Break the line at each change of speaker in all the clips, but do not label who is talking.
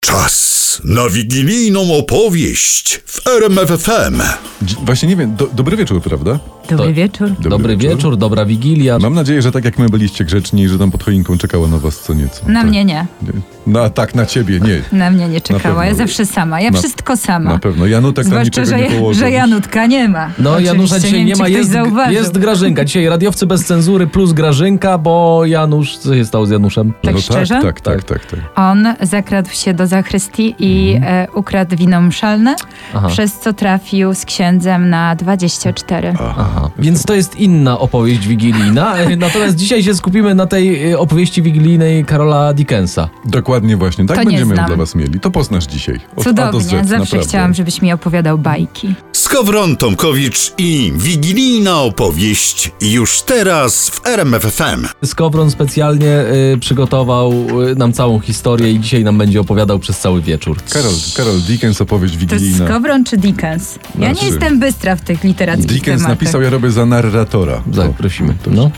Czas na wigilijną opowieść w RMFFM.
Dzi- Właśnie nie wiem, do, dobry wieczór, prawda?
Dobry
To-
wieczór.
Dobry, wieczór. No. dobra wigilia.
Mam nadzieję, że tak jak my byliście grzeczni, że tam pod choinką czekało na was co nieco.
Na
tak?
mnie nie.
Nie. Na tak, na ciebie, nie.
Na mnie nie
pewno.
czekała. Ja zawsze sama. Ja
Na-
wszystko sama.
na pewno. Janutek na
Zwłaszcza,
niczego
że,
nie położył.
że Janutka nie ma.
No,
Oczywiście,
Janusza dzisiaj
wiem,
nie
czy
ma,
ktoś
jest,
zauważył.
jest Grażynka. Dzisiaj radiowcy bez cenzury plus Grażynka, bo Janusz, co się stało z Januszem?
Tak
no
szczerze?
Tak, tak, tak, tak, tak.
On zakradł się do zachrystii i e, ukradł wino mszalne,
Mhm. Aha.
przez co trafił z księdzem na 24.
Aha. Więc to jest inna opowieść wigilijna, e, natomiast dzisiaj się skupimy na tej e, opowieści wigilijnej Karola Dickensa.
Dokładnie właśnie, tak
To nie
będziemy
znam.
dla was mieli. To poznasz dzisiaj. Od A do
Cudownie.
Z,
Zawsze
naprawdę.
chciałam, żebyś mi opowiadał bajki.
Skowron Tomkowicz i wigilijna opowieść już teraz w RMFFM.
Skowron specjalnie e, przygotował e, nam całą historię i dzisiaj nam będzie opowiadał przez cały wieczór.
Karol, Karol Dickens, opowieść
To jest
wigilijna.
Skowron czy Dickens? Ja
Znaczy-
nie jestem bystra w tych literackich
Dickens
tematach.
napisał, ja robię za narratora.
Tak,
O,
prosimy.
dobrze.
No,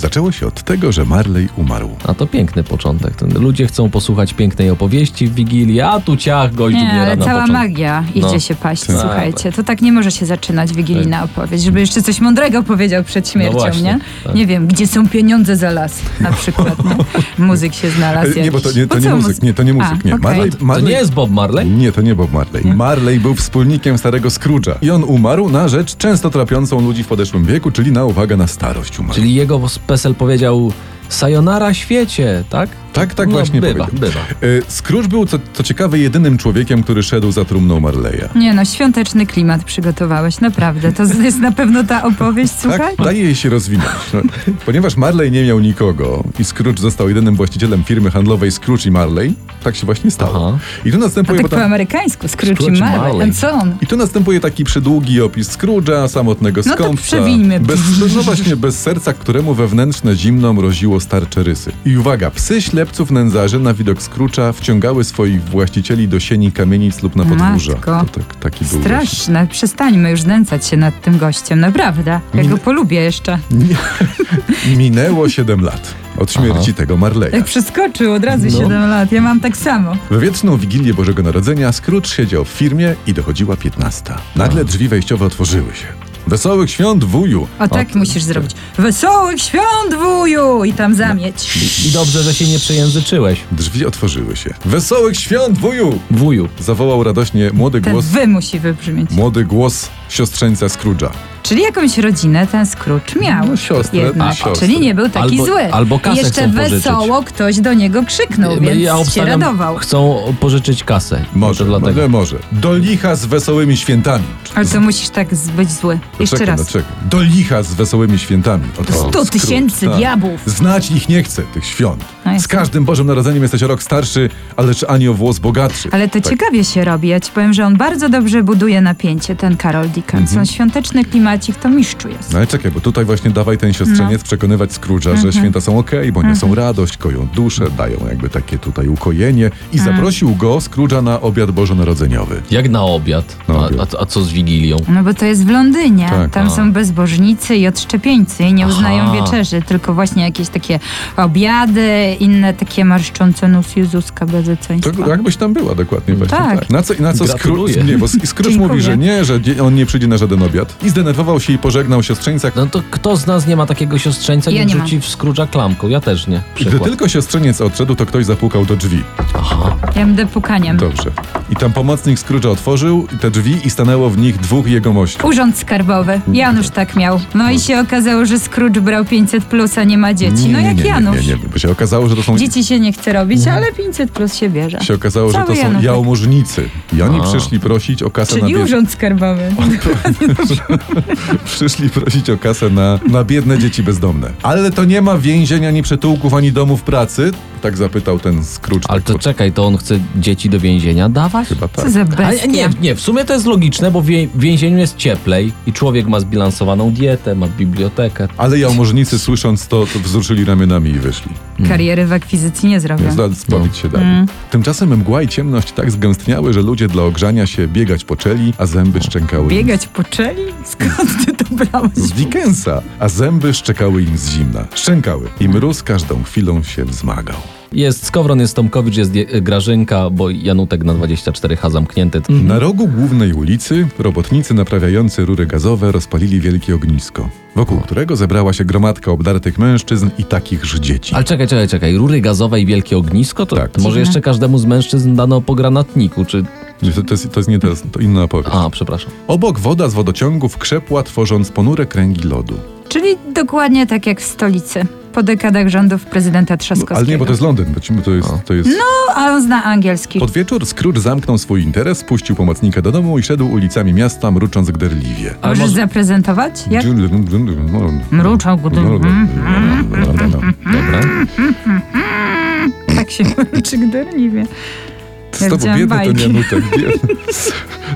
Zaczęło się od tego, że Marley umarł.
a to piękny początek. Ten- Ludzie chcą posłuchać pięknej opowieści w Wigilię, a tu ciach, gość
Nie,
umiera
ale
na
cała
początku.
magia idzie
No.
się paść,
Tak.
słuchajcie. To tak nie może się zaczynać
Tak.
wigilijna opowieść, żeby jeszcze coś mądrego powiedział
No
przed śmiercią,
właśnie,
nie?
tak.
Nie wiem, gdzie są pieniądze za las na przykład, nie? Muzyk się znalazł
E, nie, bo to nie-
jakiś.
to
Po
nie
co
muzyk,
muzy-
nie, to nie muzyk,
A,
nie. no
okej.
Marley-
To nie jest Bob Marley?
Nie, to nie Bob Marley. Marley był wspólnikiem starego Scrooge'a i on umarł na rzecz często trapiącą ludzi w podeszłym wieku, czyli na uwaga na starość umarł.
Czyli jego PESEL powiedział Sayonara świecie, tak?
Tak, tak
No,
właśnie
bywa,
powiedział.
bywa.
Y, Scrooge był, co, co ciekawe, jedynym człowiekiem, który szedł za trumną Marleya.
Mm,
Nie no, świąteczny klimat przygotowałeś, naprawdę. To z- jest na pewno ta opowieść, słuchaj?
Tak, daje jej się rozwinąć. No, ponieważ Marley nie miał nikogo i Scrooge został jedynym właścicielem firmy handlowej Scrooge i Marley, tak się właśnie stało.
Aha.
I tu
A
następuje
tak po
potem...
amerykańsku, Scrooge i
Scrooge Marley.
Marley. A co on?
I tu następuje taki przydługi opis Scrooge'a, samotnego
No to
skąpca.
przewijmy.
Bez, no właśnie, bez serca, któremu wewnętrzne zimno mroziło starcze rysy. I uwaga, psy ślepców nędzarzy na widok Scrooge'a wciągały swoich właścicieli do sieni kamienic lub na podwórza.
Matko.
To tak, taki był właśnie.
Straszne, przestańmy już znęcać się nad tym gościem, naprawdę. Ja go polubię jeszcze.
Minęło 7 lat od śmierci tego Marleya.
Jak przeskoczył od razu
No.
7 lat, ja mam tak samo.
W wieczną Wigilię Bożego Narodzenia Scrooge siedział w firmie i dochodziła 15. Nagle drzwi wejściowe otworzyły się. Wesołych świąt, wuju!
O tak musisz zrobić. Wesołych świąt, wuju! I tam zamieć.
I dobrze, że się nie przejęzyczyłeś.
Drzwi otworzyły się. Wesołych świąt, wuju!
Wuju.
Zawołał radośnie młody
Ten
głos,
wy musi wybrzmieć.
młody głos siostrzeńca Scrooge'a.
Czyli jakąś rodzinę ten Scrooge miał.
No, siostrę,
jednak,
siostrę.
Czyli nie był taki
Albo-
zły.
albo kasę
I jeszcze
chcą pożyczyć.
wesoło ktoś do niego
No
krzyknął, No,
no,
więc się radował.
chcą pożyczyć kasę.
Może,
No To dlatego.
może, może. Do licha z wesołymi świętami.
Ale to musisz tak z- być zły. Jeszcze
Czekaj,
raz.
no czekaj. Do licha z wesołymi świętami. Oto
Sto
Scrooge,
tysięcy
tak.
diabłów.
Znać ich nie chcę, tych świąt.
No jest.
Z każdym Bożym Narodzeniem jesteś o rok starszy, ale czy ani o włos bogatszy.
Ale to ciekawie się robi. Ja ci powiem, że on bardzo dobrze buduje napięcie, ten Karol Dickens.
Mhm.
On świąteczny klimacik to mistrzu jest.
No ale czekaj, bo tutaj właśnie dawaj ten
No.
siostrzeniec przekonywać Scrooge'a,
Mhm.
że święta są okej, bo niosą radość, koją duszę, dają jakby takie tutaj ukojenie
Tak.
i zaprosił go, Scrooge'a, na obiad bożonarodzeniowy.
Jak na obiad.
Na obiad.
A, a, a co z Wigilią?
No bo to jest w Londynie.
Tak,
Tam
a.
są bezbożnicy i odszczepieńcy i nie uznają
Aha.
wieczerzy, tylko właśnie jakieś takie obiady, inne takie marszczące nóż Jezuska bezecoństwa.
To jakbyś tam była dokładnie właśnie.
Tak.
Na co, na co
Gratuluję.
Scrooge, nie, bo Scrooge
Dziękuję.
mówi, że nie, że nie- on nie przyjdzie na żaden obiad i zdenerwował się i pożegnał siostrzeńca.
No to kto z nas nie ma takiego siostrzeńca,
Ja
niech
nie mam.
rzuci w Scrooge'a klamką? Ja też nie.
Gdy
Przykład.
tylko siostrzeniec odszedł, to ktoś zapukał do drzwi.
Aha.
Ja będę pukaniem.
Dobrze. I tam pomocnik Scrooge'a otworzył te drzwi i stanęło w nich dwóch jegomości.
Urząd Skarbowy. Janusz tak miał. No i się okazało, że Scrooge brał 500 plus, a nie ma dzieci. No
nie,
jak
nie, nie,
Janusz.
nie, nie, bo się okazało, że to są...
Dzieci się nie chce robić, ale 500 plus się bierze.
Się okazało, że
Cały
to są
Janusz.
jałmużnicy. I oni
A.
przyszli prosić o kasę
Czyli
na bied...
urząd skarbowy.
Przyszli prosić o kasę na, na biedne dzieci bezdomne. Ale to nie ma więzień, ani przytułków, ani domów pracy? Tak zapytał ten Scrooge.
Ale
tak
to
po-
czekaj, to on chce dzieci do więzienia dawać?
Chyba tak.
No Co za
Ale
bestia.
nie, nie, w sumie to jest logiczne, bo w wie- w więzieniu jest cieplej i człowiek ma zbilansowaną dietę, ma bibliotekę.
Ale jałmużnicy słysząc to, to wzruszyli ramionami i wyszli.
Kariery w akwizycji nie zrobię.
Więc spowiedź się dali.
Mm.
Tymczasem mgła i ciemność tak zgęstniały, że ludzie dla ogrzania się biegać poczęli, a zęby szczękały im
Biegać po czeli? Skąd ty to brałeś?
z Dickensa, a zęby szczekały im z zimna. Szczękały. I mróz każdą chwilą się wzmagał.
Jest Skowron, jest Tomkowicz, jest Je- Grażynka, bo Janutek na 24H zamknięty.
Na rogu głównej ulicy robotnicy naprawiający rury gazowe rozpalili wielkie ognisko, wokół którego zebrała się gromadka obdartych mężczyzn i takichż dzieci.
Ale czekaj, czekaj, czekaj. Rury gazowe i wielkie ognisko? To,
Tak.
to może jeszcze każdemu z mężczyzn dano po granatniku, czy...
To, to, jest, to jest nie to, jest- to inna opowieść.
A, przepraszam.
Obok woda z wodociągów krzepła, tworząc ponure kręgi lodu.
Czyli dokładnie tak jak w stolicy. Po dekadach rządów prezydenta Trzaskowskiego.
Ale nie, bo to jest Londyn, bo ci- bo to jest... To jest...
No, a on zna angielski.
Pod wieczór Scrooge zamknął swój interes, puścił pomocnika do domu i szedł ulicami miasta, mrucząc gderliwie.
Ale
Możesz
może-
zaprezentować? Jak? Mruczał Mhm. gderliwie.
Dobra.
Tak się mruczy gderliwie.
Z tobą
Widziałam
biedny ten
bajki.
Janutek. biedny.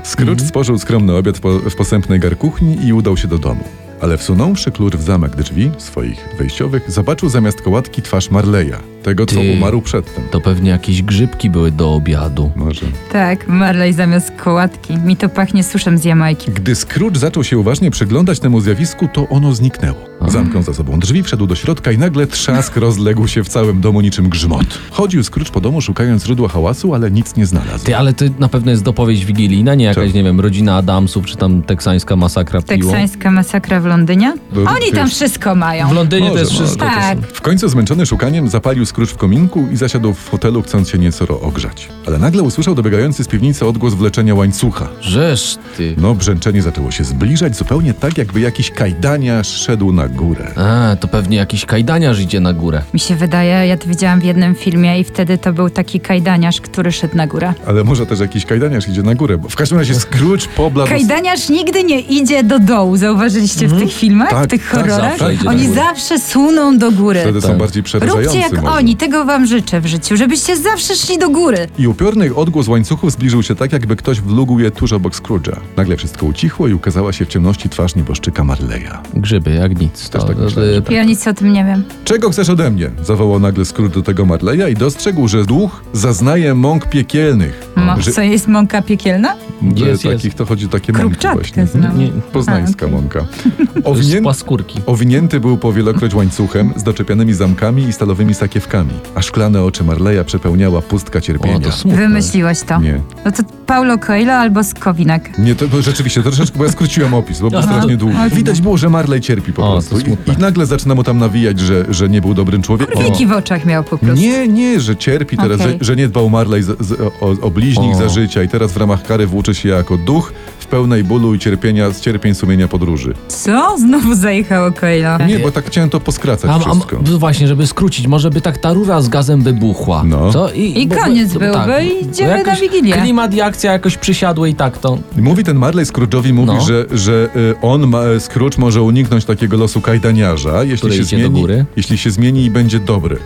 Scrooge spożył skromny obiad po, w posępnej garkuchni i udał się do domu. Ale wsunąwszy klur w zamek drzwi, swoich wejściowych, zobaczył zamiast kołatki twarz Marleya, tego co
Ty.
umarł przedtem.
To pewnie jakieś grzybki były do obiadu.
Może.
Tak, Marley zamiast kołatki. Mi to pachnie suszem z Jamajki.
Gdy Scrooge zaczął się uważnie przyglądać temu zjawisku, to ono zniknęło. Zamknął za sobą drzwi, wszedł do środka i nagle trzask rozległ się w całym domu niczym grzmot. Chodził Scrooge po domu szukając źródła hałasu, ale nic nie znalazł.
Ty, ale to na pewno jest dopowiedź wigilijna, nie jakaś,
Tak.
nie wiem, rodzina Adamsów, czy tam teksańska masakra piło.
Teksańska masakra w Londynie?
Do-
Oni tam
wiesz-
wszystko mają.
W Londynie to jest
Może,
wszystko.
może.
to są-
Tak.
W końcu zmęczony szukaniem zapalił Scrooge w kominku i zasiadł w fotelu, chcąc się nieco ro- ogrzać. Ale nagle usłyszał dobiegający z piwnicy odgłos wleczenia łańcucha.
Rzesz ty.
No, brzęczenie zaczęło się zbliżać zupełnie tak, jakby jakiś kajdaniarz szedł na górę.
A, to pewnie jakiś kajdaniarz idzie na górę.
Mi się wydaje, ja to widziałam w jednym filmie i wtedy to był taki kajdaniarz, który szedł na górę.
Ale może też jakiś kajdaniarz idzie na górę, bo w każdym razie Scrooge pobladł...
Kajdaniarz nigdy nie idzie do dołu, zauważyliście w tych filmach,
Tak,
w tych
tak,
horrorach?
zawsze idzie
Oni
na górę.
zawsze suną do góry.
Wtedy są
Tak.
bardziej przerażający
Róbcie jak
może.
oni, tego wam życzę w życiu, żebyście zawsze szli do góry.
I upiorny odgłos łańcuchów zbliżył się tak, jakby ktoś wlógł je tuż obok Scrooge'a. Nagle wszystko ucichło i ukazała się w ciemności twarz nieboszczyka Marleya.
Grzyby, jak nic.
Też
To-
tak
to-
myślałem, że tak.
Ja nic o tym nie wiem.
Czego chcesz ode mnie? Zawołał nagle Scrooge do tego Marleya i dostrzegł, że duch zaznaje mąk piekielnych.
Mo,
że,
co jest mąka piekielna?
że
Jest,
takich
jest.
to chodzi o takie mąki
Krupczatkę
właśnie.
znam.
Nie,
Poznańska
A, okej.
mąka.
to jest
Owinię...
z paskórki.
Owinięty był po wielokroć łańcuchem z doczepianymi zamkami i stalowymi sakiewkami, a szklane oczy Marleya przepełniała pustka
O,
cierpienia.
to smutne.
Wymyśliłeś to.
Nie.
No to Paulo Coelho albo Skowinak.
Nie, to bo rzeczywiście, troszeczkę, bo ja skróciłem opis, bo był
Aha.
strasznie długi.
Okej.
Widać było, że Marley cierpi po
No, O,
prostu.
to smutne.
I, I nagle zaczyna mu tam nawijać, że, że nie był dobrym człowiekiem.
Wiki w oczach miał po prostu.
Nie, nie, że cierpi teraz,
Okej.
że, że nie dbał Marley z, z, o, o bliźnich
O.
za życia i teraz w ramach kary włóczy się jako duch w pełnej bólu i cierpienia z cierpień sumienia podróży.
Co? Znowu zajechało Coelho.
Nie, bo tak chciałem to poskracać
A, a,
wszystko.
no właśnie, żeby skrócić, może by tak ta rura z gazem wybuchła.
No.
Co? I,
I koniec byłby i
tak, bo
idziemy na
jakoś
Wigilię.
Klimat i akcja jakoś przysiadły i tak to...
Mówi ten Marley Scrooge'owi, mówi,
No.
że, że y, on, ma, Scrooge, może uniknąć takiego losu kajdaniarza, jeśli
Który
się,
idzie do
zmieni,
góry?
jeśli się zmieni i będzie dobry.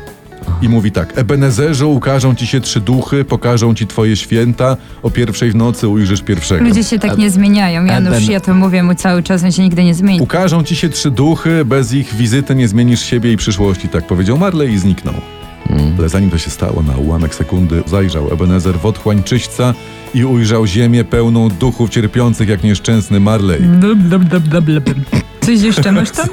I mówi tak, Ebenezerze, ukażą ci się trzy duchy, pokażą ci twoje święta, o pierwszej w nocy ujrzysz pierwszego.
Ludzie się tak nie zmieniają. Janusz,
Eben-
ja to mówię mu cały czas, on się nigdy nie zmieni.
Ukażą ci się trzy duchy, bez ich wizyty nie zmienisz siebie i przyszłości, tak powiedział Marley i zniknął. Ale zanim to się stało, na ułamek sekundy zajrzał Ebenezer w otchłań czyśćca i ujrzał ziemię pełną duchów cierpiących jak nieszczęsny Marley.
Coś jeszcze masz tam?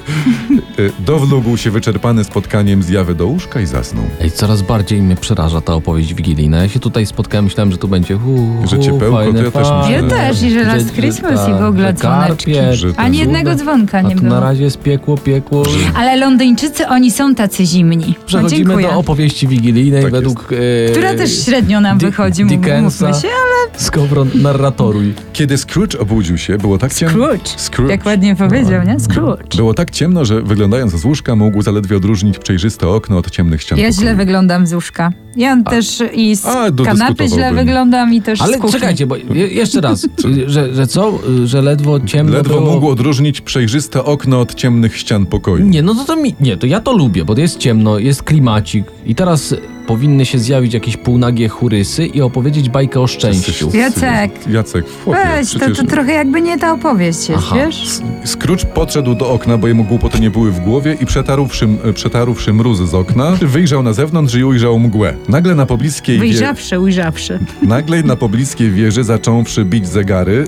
Y, Dowlógł się wyczerpany spotkaniem zjawy do łóżka i zasnął.
Ej, coraz bardziej mnie przeraża ta opowieść wigilijna. Ja się tutaj spotkałem, myślałem, że tu będzie hu, hu,
Że cię pełko,
fajne,
to ja też
fajne.
Ja też, i że Last
Że- że
Christmas i
tak,
w ogóle
że
dzwoneczki.
karpie,
Że
Ani jednego dzwonka
A
nie
tu na
było.
razie jest piekło, piekło.
Ale Londyńczycy, oni są tacy zimni. No,
Przechodzimy
dziękuję.
do opowieści wigilijnej
Tak
według... E,
Która też średnio nam
Di-
wychodzi, mów-
Dickensa.
mówmy się,
Skowron narratoruj.
Kiedy Scrooge obudził się, było tak ciemno...
Scrooge.
Scrooge. No,
Jak ładnie powiedział, nie? Scrooge.
Było tak ciemno, że wyglądając z łóżka mógł zaledwie odróżnić przejrzyste okno od ciemnych ścian
Ja
pokoju.
źle wyglądam z łóżka. Ja też i z
A, dodyskutował
kanapy źle
bym.
wyglądam i też z
Ale
kuchni.
czekajcie, bo je, jeszcze raz, y, że, że co? Y, Że ledwo ciemno
Ledwo
było...
mógł odróżnić przejrzyste okno od ciemnych ścian pokoju.
Nie, no to, to mi, nie, to ja to lubię, bo jest ciemno, jest klimacik i teraz powinny się zjawić jakieś półnagie churysy i opowiedzieć bajkę o szczęściu.
Jacek.
Jacek, w chłopie,
Weź, to,
przecież...
to trochę jakby nie ta opowieść jest,
Aha.
wiesz?
Scrooge podszedł do okna, bo jemu głupoty nie były w głowie i przetarłszy, przetarłszy mróz z okna, wyjrzał na zewnątrz i ujrzał mgłę. Nagle na pobliskiej, wie...
Wyjrzawszy, ujrzawszy.
Nagle na pobliskiej wieży zacząwszy bić zegary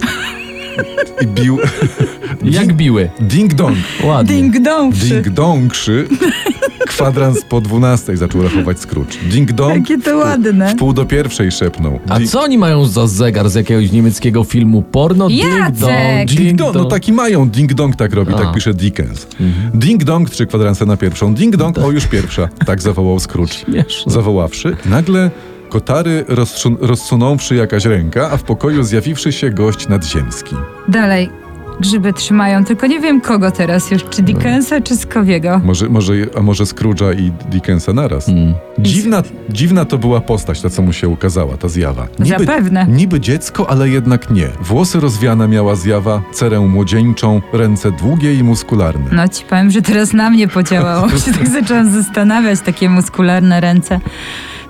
i bił...
Jak biły.
Ding-dong!
Ładnie.
Ding-dongszy.
Ding-dongszy! Kwadrans po dwunastej zaczął rachować Scrooge. Ding-dong!
Jakie to ładne.
W pół do pierwszej szepnął.
A
Di-
co oni mają za zegar z jakiegoś niemieckiego filmu porno?
Jacek!
ding
Ding-dong,
dong.
no taki mają, ding-dong tak robi,
A.
tak pisze Dickens. Ding-dong, trzy kwadranse na pierwszą, ding-dong, o już pierwsza, tak zawołał Scrooge.
Śmieszne.
Zawoławszy, nagle kotary rozsun- rozsunąwszy jakaś ręka, a w pokoju zjawiwszy się gość nadziemski.
Dalej. Grzyby trzymają, tylko nie wiem kogo teraz już, czy Dickensa, czy Skowiego.
Może, może, a może Scrooge'a i Dickensa naraz.
Hmm.
Dziwna, dziwna to była postać, ta co mu się ukazała, ta zjawa.
Zapewne.
Niby dziecko, ale jednak nie. Włosy rozwiane miała zjawa, cerę młodzieńczą, ręce długie i muskularne.
No ci powiem, że teraz na mnie podziałało. się tak zaczęłam zastanawiać, takie muskularne ręce.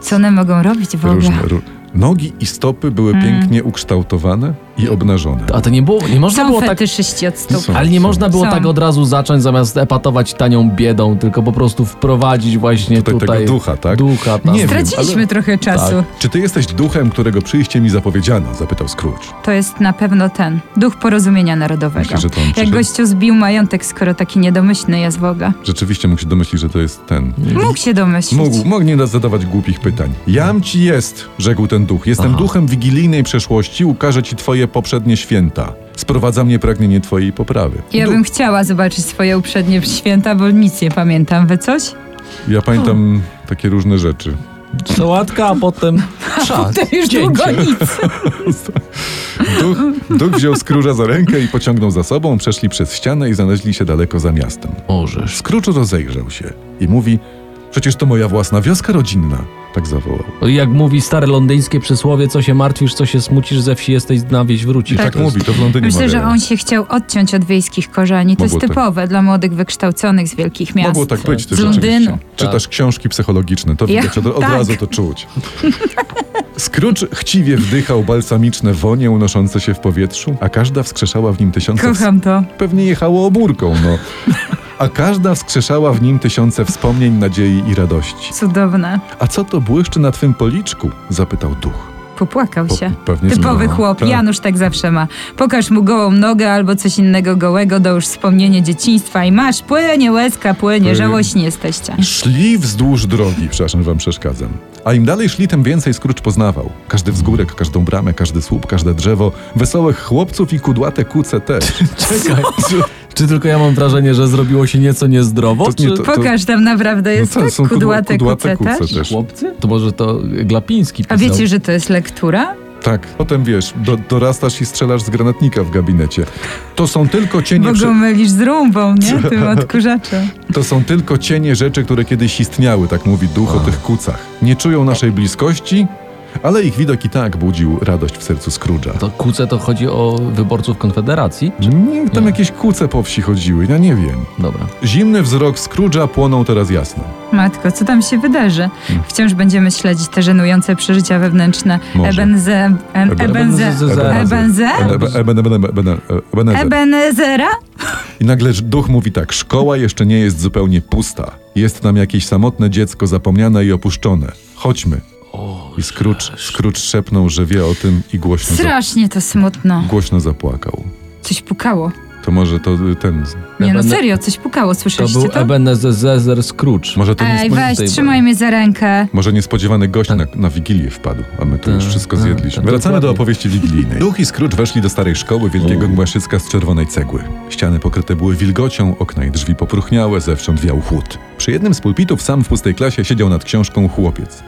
Co one mogą robić w ogóle?
Różne, ró- Nogi i stopy były
Mm.
pięknie ukształtowane i obnażone.
A to nie było, nie można
Są
było tak...
fetyszyści od stóp.
Są.
Ale nie można było
Są.
tak od razu zacząć, zamiast epatować tanią biedą, tylko po prostu wprowadzić właśnie
Tutaj
tutaj...
tego ducha, tak?
Ducha, tam.
Nie wiem.
Straciliśmy
ale- Tak.
trochę czasu.
Czy ty jesteś duchem, którego przyjście mi zapowiedziano? Zapytał Scrooge.
To jest na pewno ten, duch porozumienia narodowego.
Myślę, że to on
Jak
przyszedł.
gościu zbił majątek, skoro taki niedomyślny jest w ogóle.
Rzeczywiście mógł się domyślić, że to jest ten.
Mógł się domyślić.
Mógł, mógł nie da- zadawać głupich pytań. Jam ci jest, rzekł ten duch. Jestem
Aha.
duchem wigilijnej przeszłości, ukażę ci twoje poprzednie święta. Sprowadza mnie pragnienie twojej poprawy.
Ja
Duch.
bym chciała zobaczyć swoje uprzednie święta, bo nic nie pamiętam. Wy coś?
ja pamiętam takie różne rzeczy.
Sałatka, a potem... Czas.
To już
Cięcie.
długo nic.
Duch, duch wziął Scrooge'a za rękę i pociągnął za sobą, przeszli przez ścianę i znaleźli się daleko za miastem.
Możesz.
Scrooge rozejrzał się i mówi: Przecież to moja własna wioska rodzinna. Tak zawołał.
Jak mówi stare londyńskie przysłowie, co się martwisz, co się smucisz, ze wsi jesteś, na wieś wrócisz.
I tak,
Tak.
mówi, to w Londynie
Myślę, że
mawiają.
on się chciał odciąć od wiejskich korzeni. To jest
Mogło tak.
typowe dla młodych wykształconych z wielkich miast.
Mogło tak być też
Z Londynu.
rzeczywiście.
Tak.
Czytasz książki psychologiczne, to
Ja-
widać, od, od
tak.
razu to czuć. Scrooge chciwie wdychał balsamiczne wonie unoszące się w powietrzu, a każda wskrzeszała w nim tysiące... ws-
Kocham to.
Pewnie jechało obórką, no. A każda wskrzeszała w nim tysiące wspomnień, nadziei i radości.
Cudowne.
A co to błyszczy na twym policzku? Zapytał duch.
Popłakał
Po-
się.
pewnie
Typowy
znowu.
chłop,
Tak.
Janusz tak zawsze ma. Pokaż mu gołą nogę albo coś innego gołego, dołóż wspomnienie dzieciństwa i masz, płynie łezka, płynie,
Płynie.
żałośni jesteście.
Szli wzdłuż drogi, przepraszam, że wam przeszkadzam. A im dalej szli, tym więcej Scrooge poznawał. Każdy wzgórek, każdą bramę, każdy słup, każde drzewo, wesołych chłopców i kudłate kuce też.
Czekaj, czy, czy tylko ja mam wrażenie, że zrobiło się nieco niezdrowo?
To nie
czy...
to-
Pokaż, tam naprawdę jest
tak,
tak
są kudła-
kudłate, kudłate kuce też.
też. No.
Chłopcy? To może to Glapiński
A
pisał.
wiecie, że to jest lektura?
Tak. Potem wiesz, do, dorastasz i strzelasz z granatnika w gabinecie. To są tylko cienie...
Bo
Prze-
go mylisz z rumbą, nie? Tym odkurzaczem.
to są tylko cienie rzeczy, które kiedyś istniały, tak mówi duch o tych kucach. Nie czują naszej bliskości, ale ich widok i tak budził radość w sercu Scrooge'a.
To kuce to chodzi o wyborców Konfederacji?
Nie, tam jakieś kuce po wsi chodziły, ja nie wiem.
Dobra.
Zimny wzrok Scrooge'a płonął teraz jasno.
Matko, co tam się wydarzy?
Mm.
Wciąż będziemy śledzić te żenujące przeżycia wewnętrzne.
Może.
Ebenze... em,
Eben-
Ebenze...
Ebenezera.
Ebenze...
Ebe- Eben- Eben- Eben- Eben- Ebenezer.
Ebenezera?
e, I nagle duch mówi tak, szkoła jeszcze nie jest zupełnie pusta. Jest tam jakieś samotne dziecko zapomniane i opuszczone. Chodźmy. I Scrooge, Scrooge szepnął, że wie o tym i głośno, za,
Strasznie to smutno.
głośno zapłakał.
Coś pukało.
To może to y, ten... z-
Nie no
Ebene-
serio, coś pukało,
To
słyszeliście
był
to?
Ebenezer Scrooge.
Może to
Ej,
niespo...
weź,
tej
trzymaj mnie za rękę.
Może niespodziewany gość na, na Wigilię wpadł, a my tu już
Tak,
wszystko
tak,
zjedliśmy.
tak,
Wracamy do
dokładnie.
opowieści wigilijnej. Duch i Scrooge weszli do starej szkoły wielkiego mgłaszycka z czerwonej cegły. Ściany pokryte były wilgocią, okna i drzwi popruchniałe, zewsząd wiał chłód. Przy jednym z pulpitów sam w pustej klasie siedział nad książką chłopiec.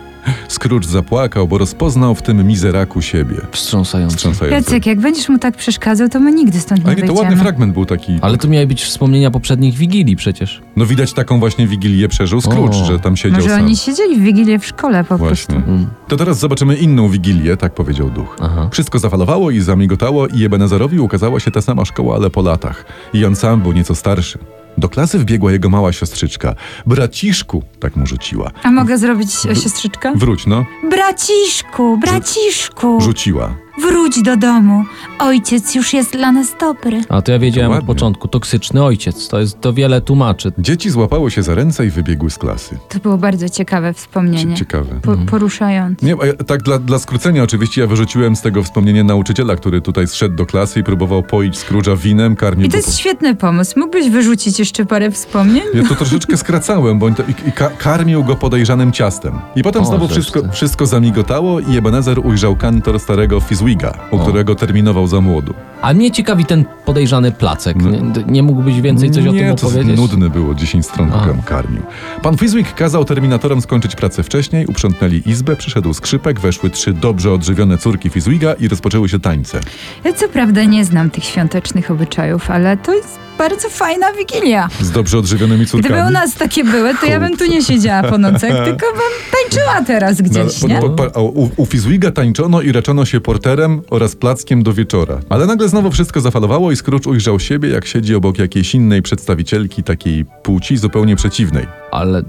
Scrooge zapłakał, bo rozpoznał w tym mizeraku siebie.
Wstrząsający.
Wstrząsający.
Jacek, jak będziesz mu tak przeszkadzał, to my nigdy stąd
A
nie
nie, to ładny
wyjdziemy.
fragment był taki.
Ale to miały być wspomnienia poprzednich Wigilii przecież.
No widać taką właśnie wigilię przeżył Scrooge,
O.
że tam siedział
Może
sam.
oni siedzieli w Wigilię w szkole po
Właśnie.
prostu.
To teraz zobaczymy inną wigilię, tak powiedział duch.
Aha.
Wszystko zafalowało i zamigotało i Ebenezerowi ukazała się ta sama szkoła, ale po latach. I on sam był nieco starszy. Do klasy wbiegła jego mała siostrzyczka. Braciszku, tak mu rzuciła.
A mogę zrobić e, siostrzyczkę?
Wróć no,
Braciszku, braciszku,
rzuciła.
wróć do domu. Ojciec już jest dla nas dobry.
A to ja wiedziałem
To
od
ładnie.
początku. Toksyczny ojciec. To jest to wiele tłumaczy.
Dzieci złapały się za ręce i wybiegły z klasy.
To było bardzo ciekawe wspomnienie.
Ciekawe. no.
Po, poruszające.
Nie, a ja- tak dla, dla skrócenia oczywiście ja wyrzuciłem z tego wspomnienie nauczyciela, który tutaj zszedł do klasy i próbował poić Scrooge'a winem, karmił
I
go
to
po-
jest świetny pomysł. Mógłbyś wyrzucić jeszcze parę wspomnień?
Ja to troszeczkę skracałem, bo on to, i, i ka- karmił go podejrzanym ciastem. I potem
O,
znowu
żeż
wszystko,
ty.
wszystko zamigotało i Ebenezer ujrzał kantor starego Fizwiga, u
O.
którego terminował za młodu.
A mnie ciekawi ten podejrzany placek.
No.
Nie, nie mógłbyś więcej coś
Nie,
o tym
to
opowiedzieć?
nudny było, 10 stron
A.
kam- karmił. Pan Fizwig kazał terminatorom skończyć pracę wcześniej, uprzątnęli izbę, przyszedł skrzypek, weszły trzy dobrze odżywione córki Fizwiga i rozpoczęły się tańce.
Ja co prawda nie znam tych świątecznych obyczajów, ale to jest bardzo fajna Wigilia.
Z dobrze odżywionymi córkami.
Gdyby u nas takie były, to ja bym tu nie siedziała po nocach, tylko bym tańczyła teraz
No, ale
gdzieś,
po-
nie?
po- po- a u, u Fizwiga tańczono i reczono się porterem oraz plackiem do wieczora. Ale nagle znowu wszystko zafalowało i Scrooge ujrzał siebie, jak siedzi obok jakiejś innej przedstawicielki takiej płci zupełnie przeciwnej.
Ale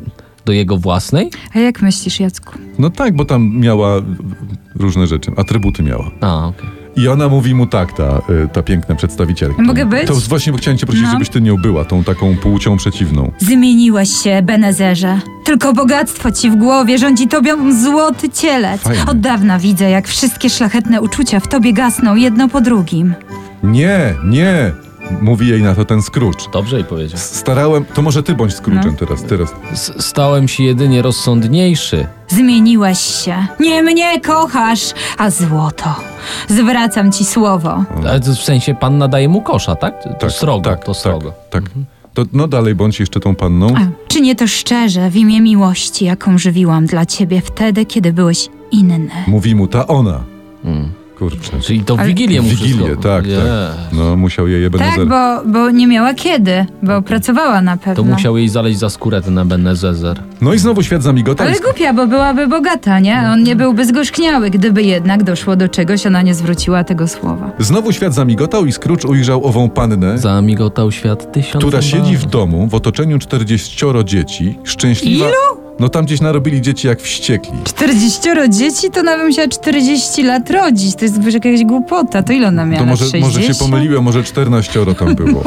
do jego własnej?
A jak myślisz, Jacku?
No tak, bo tam miała różne rzeczy, atrybuty miała.
A, okej.
I ona mówi mu tak, ta, y, ta piękna przedstawicielka.
Mogę być?
To właśnie chciałem cię prosić,
No.
żebyś ty nią była, tą taką płcią przeciwną.
Zmieniłeś się, Benezerze. Tylko bogactwo ci w głowie rządzi tobą złoty cielec.
Fajnie.
Od dawna widzę, jak wszystkie szlachetne uczucia w tobie gasną jedno po drugim.
Nie, nie, mówi jej na to ten Scrooge.
Dobrze jej powiedział.
Starałem, to może ty bądź
No.
Scrooge'em teraz, teraz.
S- Stałem się jedynie rozsądniejszy.
Zmieniłeś się. Nie mnie kochasz, a złoto. Zwracam ci słowo.
Ale to w sensie pan nadaje mu kosza, tak? To srogo, to srogo.
Mm.
Mhm.
Tak. To, no dalej bądź jeszcze tą panną.
A, Czy nie to szczerze w imię miłości, jaką żywiłam dla ciebie wtedy, kiedy byłeś inny?
Mówi mu ta ona. Kurczę.
Czyli to w
Ale-
Wigilię mu
Wigilię,
Mm. wszystko-
tak,
Je.
tak. No musiał jej
Tak,
Ebenezer.
bo, bo nie miała kiedy, bo pracowała na
To
pewno.
musiał jej zaleźć za skórę ten Ebenezer.
No i znowu świat zamigotał.
Ale głupia, bo byłaby bogata, nie? On nie byłby zgorzkniały, gdyby jednak doszło do czegoś, ona nie zwróciła tego słowa.
Znowu świat zamigotał i Scrooge ujrzał ową pannę,
Zamigotał świat tysiąc.
która siedzi w domu w otoczeniu 40 dzieci, szczęśliwa.
Ilu?
No tam gdzieś narobili dzieci jak wściekli.
40 dzieci, to nawet musiała 40 lat rodzić. To jest jakaś głupota. To ile ona miała?
To może,
60?
może się pomyliłem, może 14 tam było.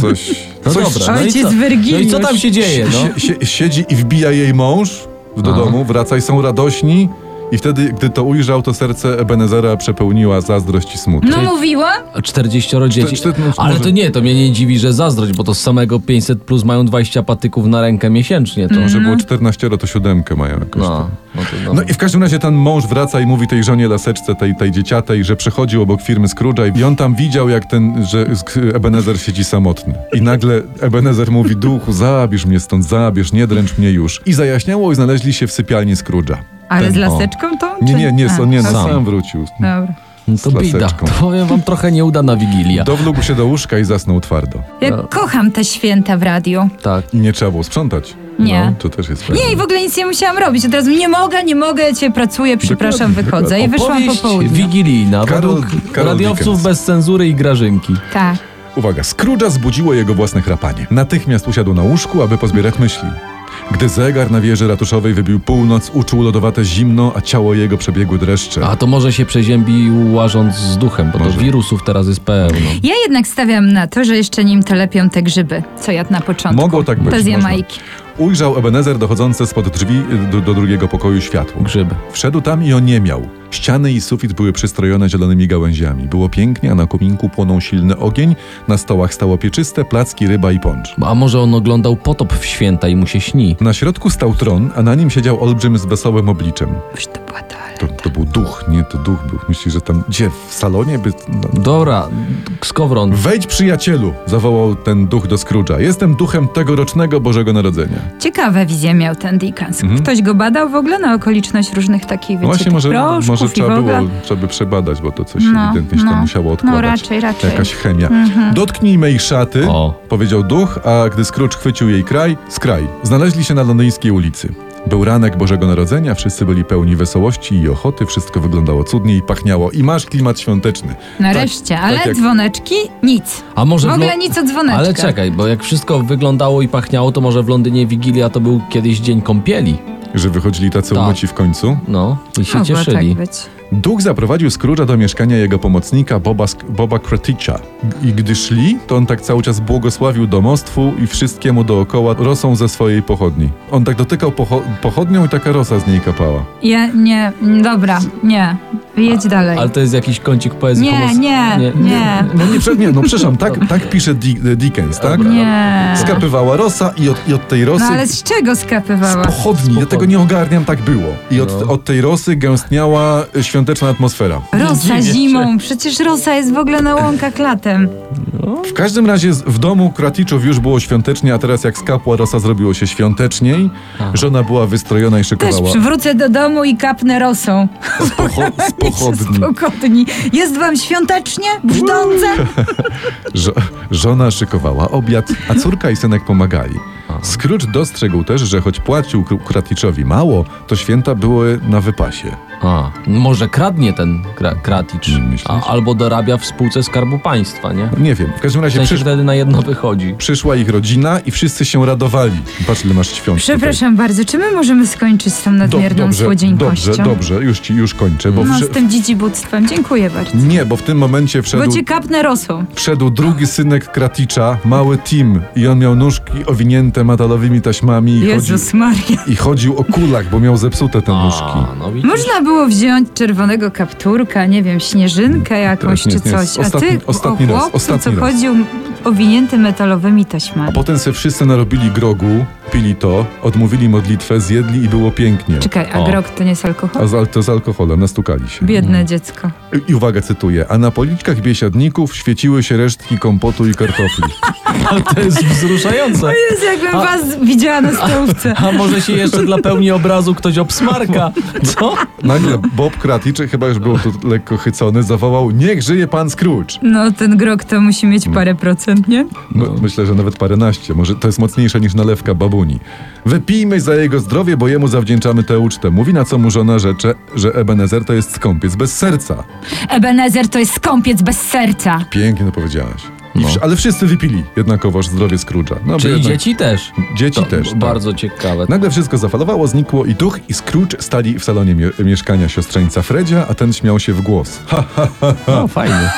Coś.
No
coś
dobra, no i,
Ojciec
co? no
Wyrgiliusz.
i co tam się dzieje? No?
Sie- sie- siedzi i wbija jej mąż w- do
Aha.
domu, wraca i są radośni. I wtedy, gdy to ujrzał, to serce Ebenezera przepełniła zazdrość i smutek.
No mówiła?
40 dzieci.
Czter- czter- no,
Ale
może-
to nie, to mnie nie dziwi, że zazdrość, bo to z samego 500 plus mają 20 patyków na rękę miesięcznie. To.
Że było 14, to siódemkę mają jakoś. tam.
No, no, to, no.
No i w każdym razie ten mąż wraca i mówi tej żonie laseczce, tej, tej dzieciatej, że przechodził obok firmy Scrooge'a i on tam widział, jak ten, że Sk- Ebenezer siedzi samotny. I nagle Ebenezer mówi, duchu, zabierz mnie stąd, zabierz, nie dręcz mnie już. I zajaśniało i znaleźli się w sypialni Scrooge'a.
Ale
Ten-
z
o.
laseczką tą?
Nie,
czy-
nie, nie,
A,
so, nie,
okej.
no, sam wrócił.
Dobra.
No to
z
bida.
laseczką.
To powiem wam trochę nieudana Wigilia.
Dowlógł się do łóżka i zasnął twardo.
Ja kocham te święta w radiu.
Tak.
I nie trzeba było sprzątać.
Nie.
No, to też jest fajne.
Nie, i w ogóle nic nie musiałam robić. Od razu nie mogę, nie mogę, ja cię pracuję, przepraszam,
Dokładnie,
wychodzę. I wyszłam po
Opowieść
południu.
wigilijna,
Karol-
według
Karol
radiowców
Dickens.
bez cenzury i grażynki.
Tak.
Uwaga, Scrooge'a zbudziło jego własne chrapanie. Natychmiast usiadł na łóżku, aby pozbierać myśli. Gdy zegar na wieży ratuszowej wybił północ, uczuł lodowate zimno, a ciało jego przebiegły dreszcze.
A to może się przeziębił łażąc z duchem, bo
Może.
to wirusów teraz jest pełno.
Ja jednak stawiam na to, że jeszcze nim telepią te grzyby, co jadł na początku.
Mogło tak być.
To z
można.
Jamajki.
Ujrzał Ebenezer dochodzące spod drzwi y, do, do drugiego pokoju światło.
Grzyby.
Wszedł tam i on nie miał. Ściany i sufit były przystrojone zielonymi gałęziami. Było pięknie, a na kominku płonął silny ogień, na stołach stało pieczyste, placki, ryba i poncz.
A może on oglądał potop w święta i mu się śni?
Na środku stał tron, a na nim siedział olbrzym z wesołym obliczem.
Może to była toaleta.
To, to był duch, nie, to duch był. Myślisz, że tam gdzie? W salonie? By... No.
Dobra, skowron.
Wejdź przyjacielu! zawołał ten duch do Scrooge'a. Jestem duchem tegorocznego Bożego Narodzenia. No
Ciekawe wizje miał ten Dickens. Ktoś go badał w ogóle na okoliczność różnych takich, wiecie,
Mhm. No właśnie,
tych
może,
proszków
może
i w
trzeba
ogóle.
było, trzeba by przebadać, bo to coś
No,
ewidentnie się
no.
tam musiało odkładać.
No, raczej, raczej.
Jakaś chemia. Dotknij mej szaty,
O.
powiedział duch, a gdy Scrooge chwycił jej kraj, skraj. Znaleźli się na londyńskiej ulicy. Był ranek Bożego Narodzenia, wszyscy byli pełni wesołości i ochoty, wszystko wyglądało cudnie i pachniało. I masz klimat świąteczny.
Nareszcie, ale
tak jak-
dzwoneczki? Nic.
A może
W ogóle
Lo-
nic o dzwoneczkach.
Ale czekaj, bo jak wszystko wyglądało i pachniało, to może w Londynie Wigilia to był kiedyś dzień kąpieli.
Że wychodzili tacy
Tak.
umyci w końcu.
No, i się
Mogło
cieszyli.
tak być.
Duch zaprowadził Scrooge'a do mieszkania jego pomocnika Boba, Sk- Boba Kreticza. I gdy szli, to on tak cały czas błogosławił domostwu i wszystkiemu dookoła rosą ze swojej pochodni. On tak dotykał pocho- pochodnią i taka rosa z niej kapała.
Ja, nie, m, dobra, nie. Jedź dalej.
Ale to jest jakiś kącik poezji
Nie,
homo-
nie, nie.
No nie, prze- nie no przepraszam, tak, tak pisze Di- Dickens, tak?
Nie.
Skapywała rosa i od, i od tej rosy...
No ale z czego skapywała?
Pochodni, ja tego nie ogarniam, tak było. I od, od tej rosy gęstniała e, świąteczna atmosfera.
Rosa zimą, przecież rosa jest w ogóle na łąkach latem.
W każdym razie z- w domu Kraticzów już było świątecznie, a teraz jak skapła rosa zrobiło się świąteczniej. Żona była wystrojona i
Też
szykowała
przywrócę do domu i kapnę rosą.
z, pocho- z
Pochodni.
pochodni.
Pochodni. Jest wam świątecznie? Brzdące?
Żo- żona szykowała obiad, a córka i synek pomagali. Scrooge dostrzegł też, że choć płacił Kr- Kraticzowi mało, to święta były na wypasie.
A, może kradnie ten kra- kraticz.
Myślisz?
A, albo dorabia w spółce Skarbu Państwa, nie?
No Nie wiem, w każdym
W
razie
sensie
przysz-
wtedy na jedno wychodzi.
przyszła ich rodzina i wszyscy się radowali. Patrz, ile masz świąt.
Przepraszam bardzo, czy my możemy skończyć z tą
tutaj.
nadmierną słodzieńkością?
dobrze, dobrze, już ci, już kończę, bo
No,
wszy-
z tym dzidzibóctwem. Dziękuję bardzo.
nie, bo w tym momencie wszedł...
Bo cię kapnę rosą.
Wszedł drugi synek Kraticza, mały Tim, i on miał nóżki owinięte metalowymi taśmami i, chodził,
Jezus Maria.
i chodził o kulach, bo miał zepsute te nóżki.
A, no widzisz?
Można było wziąć czerwonego kapturka, nie wiem, śnieżynkę jakąś
nie, nie,
czy coś.
ostatni-
A ty
ostatni
o
raz,
chłopcu,
ostatni
co
raz.
chodził owinięty metalowymi taśmami.
A potem se wszyscy narobili grogu, pili to, odmówili modlitwę, zjedli i było pięknie.
Czekaj, a
O.
grog to nie jest alkohol?
A z, al- to z alkoholem nastukali się.
Biedne dziecko.
I uwaga, cytuję. A na policzkach biesiadników świeciły się resztki kompotu i kartofli.
Ale to jest wzruszające.
Jest jakbym was widziała na stołówce.
A może się jeszcze dla pełni obrazu ktoś obsmarka? Co?
Nagle Bob Kraticzy, chyba już był tu lekko chycony, zawołał Niech żyje pan Scrooge!
No, ten grog to musi mieć parę procent, nie?
My-
No.
Myślę, że nawet paręnaście. Może to jest mocniejsze niż nalewka babuni. Wypijmy za jego zdrowie, bo jemu zawdzięczamy tę ucztę. Mówi na co mu żona rzecze, że Ebenezer to jest skąpiec bez serca.
Ebenezer to jest skąpiec bez serca.
Pięknie to powiedziałaś. I wsz- ale wszyscy wypili jednakowoż zdrowie Scrooge'a. No, bo
No. Czyli
jednak-
dzieci też.
Dzieci też, tak.
Bardzo ciekawe.
Nagle wszystko zafalowało, znikło i duch i Scrooge stali w salonie mie- mieszkania siostrzeńca Fredzia, a ten śmiał się w głos. Ha,
No fajnie.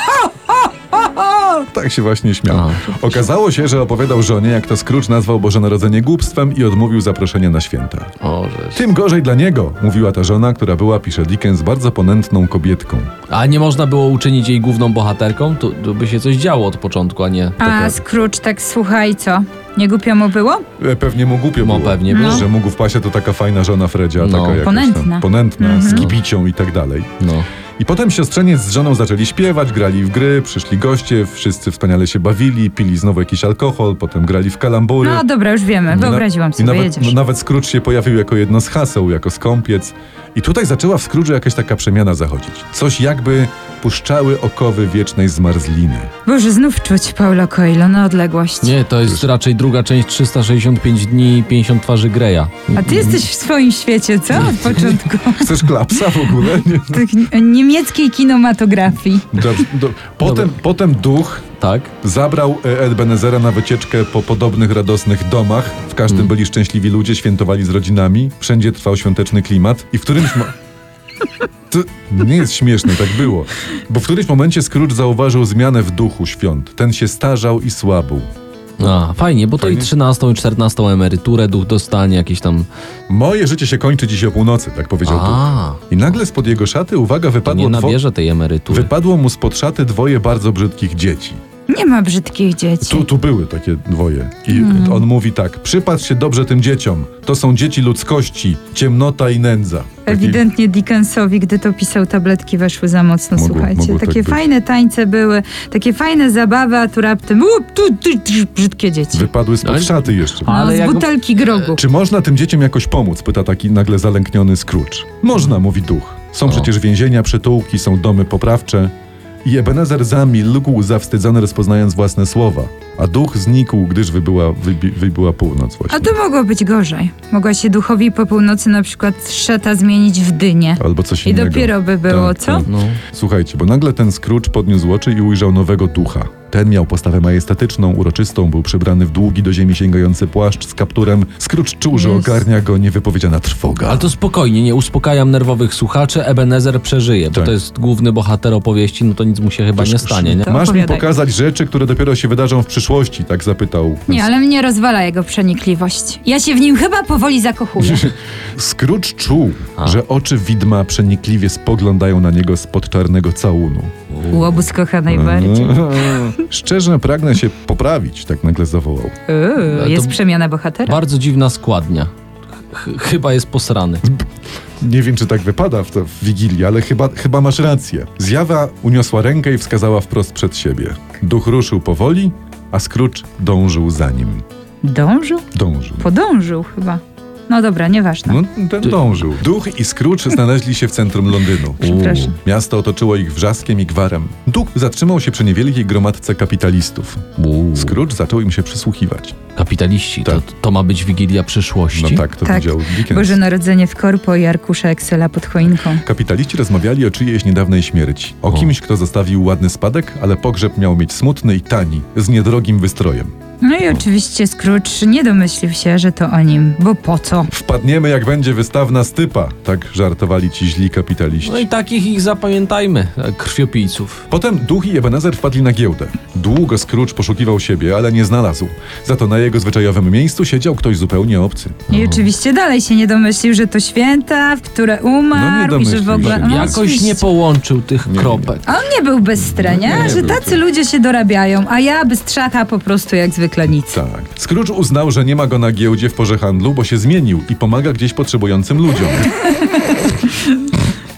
tak się właśnie śmiał.
A.
Okazało się, że opowiadał żonie, jak to Scrooge nazwał Boże Narodzenie głupstwem i odmówił zaproszenia na święta.
O, żeś.
Tym gorzej dla niego, mówiła ta żona, która była, pisze Dickens, bardzo ponętną kobietką.
A nie można było uczynić jej główną bohaterką? To, to by się coś działo od początku, a nie.
A Scrooge tak słuchaj, co? Nie głupio mu było?
E, Pewnie mu głupio
No,
było.
pewnie było.
Że mógł w pasie to taka fajna żona Fredzia,
No.
taka jakaś
Ponętna.
Tam, ponętna z kibicią i tak dalej.
No.
I potem siostrzeniec z żoną zaczęli śpiewać, grali w gry, przyszli goście, wszyscy wspaniale się bawili, pili znowu jakiś alkohol, potem grali w kalambury.
No dobra, już wiemy.
I na-
Wyobraziłam
I
sobie,
nawet,
jedziesz.
nawet Scrooge się pojawił jako jedno z haseł, jako skąpiec. I tutaj zaczęła w Scrooge'u jakaś taka przemiana zachodzić. Coś jakby puszczały okowy wiecznej zmarzliny.
Boże, znów czuć Paulo Coelho na odległość.
Nie, to jest raczej druga część 365 dni i 50 twarzy Greya.
A ty jesteś w swoim świecie, co? Od początku.
Chcesz klapsa w ogóle? Nie.
Tych niemieckiej kinematografii.
Dobrze, do, potem, potem duch
Tak?
zabrał e, Ebenezera na wycieczkę po podobnych radosnych domach. W każdym
Mm.
byli szczęśliwi ludzie, świętowali z rodzinami. Wszędzie trwał świąteczny klimat. I w którymś... Mo- to nie jest śmieszne, tak było. Bo w którymś momencie Scrooge zauważył zmianę w duchu świąt. Ten się starzał i słabł.
A, fajnie, bo
Fajnie.
to i 13 i 14 emeryturę duch dostanie, jakieś tam...
Moje życie się kończy dziś o północy, tak powiedział duch.
A,
I nagle spod jego szaty, uwaga, wypadło,
nie
dwo...
nabierze tej emerytury.
wypadło mu spod szaty dwoje bardzo brzydkich dzieci.
Nie ma brzydkich dzieci.
Tu, tu były takie dwoje. I
Mhm.
on mówi tak, przypatrz się dobrze tym dzieciom. To są dzieci ludzkości, ciemnota i nędza. Taki-
Ewidentnie Dickensowi, gdy to pisał, tabletki weszły za mocno,
Mogło-
słuchajcie.
mogło tak
takie
być.
fajne tańce były, takie fajne zabawy, a tu raptem łup, tu, tu, tu, brzydkie dzieci.
Wypadły
Ale-
spod szaty jeszcze.
No,
Ale
z
jak-
butelki grogu.
Czy można tym dzieciom jakoś pomóc? Pyta taki nagle zalękniony Scrooge. Można, mówi duch. Są przecież więzienia, przytułki, są domy poprawcze. I Ebenezer zamilkł, zawstydzony rozpoznając własne słowa. A duch znikł, gdyż wybyła, wybi, wybyła północ właśnie.
A to mogło być gorzej. Mogła się duchowi po północy na przykład szata zmienić w dynię.
Albo coś
I
innego.
dopiero by było,
Tak,
co?
tak.
No.
Słuchajcie, bo nagle ten Scrooge podniósł oczy i ujrzał nowego ducha. Ten miał postawę majestatyczną, uroczystą, był przebrany w długi do ziemi sięgający płaszcz z kapturem. Scrooge czuł, że
Jest.
ogarnia go niewypowiedziana trwoga.
Ale to spokojnie, nie uspokajam nerwowych słuchaczy, Ebenezer przeżyje, bo
Tak.
to jest główny bohater opowieści, no to nic mu się chyba nie stanie, nie?
To
Masz mi
opowiadaj.
pokazać rzeczy, które dopiero się wydarzą w przyszłości, tak zapytał.
Nie, ale mnie rozwala jego przenikliwość. Ja się w nim chyba powoli zakochuję.
Scrooge czuł, że oczy widma przenikliwie spoglądają na niego spod czarnego całunu.
Łobuz kocha najbardziej.
Mhm. Szczerze pragnę się poprawić, tak nagle zawołał.
Uuu,
to-
jest przemiana bohatera.
Bardzo dziwna składnia. Ch- chyba jest posrany.
Nie wiem, czy tak wypada w, to, w Wigilii, ale chyba, chyba masz rację. Zjawa uniosła rękę i wskazała wprost przed siebie. Duch ruszył powoli, a Scrooge dążył za nim.
Dążył?
Dążył.
Podążył chyba. No dobra, nieważne.
No, ten dążył. Duch i Scrooge znaleźli się w centrum Londynu.
Przepraszam.
Miasto otoczyło ich wrzaskiem i gwarem. Duch zatrzymał się przy niewielkiej gromadce kapitalistów.
Uuu.
Scrooge zaczął im się przysłuchiwać.
Kapitaliści, to,
Tak.
to ma być Wigilia przyszłości.
No tak, to
Tak.
widział Dickens.
Boże Narodzenie w korpo i arkusze Excela pod choinką.
Kapitaliści rozmawiali o czyjejś niedawnej śmierci. O
O.
kimś, kto zostawił ładny spadek, ale pogrzeb miał mieć smutny i tani, z niedrogim wystrojem.
No i oczywiście Scrooge nie domyślił się, że to o nim, bo po co?
Wpadniemy, jak będzie wystawna stypa, tak żartowali ci źli kapitaliści.
No i takich ich zapamiętajmy, e, krwiopijców.
Potem duch i Ebenezer wpadli na giełdę. Długo Scrooge poszukiwał siebie, ale nie znalazł. Za to na jego zwyczajowym miejscu siedział ktoś zupełnie obcy.
I oczywiście dalej się nie domyślił, że to święta, w które umarł
No nie
i że w
domyślił
ogóle...
się.
No,
Jakoś
oczywiście.
nie połączył tych kropek.
A on nie był bez strenia,
Nie
że
był,
tacy
tak.
ludzie się dorabiają, a ja bez trzacha po prostu jak zwykle nic.
Tak. Scrooge uznał, że nie ma go na giełdzie w porze handlu, bo się zmienił i pomaga gdzieś potrzebującym ludziom.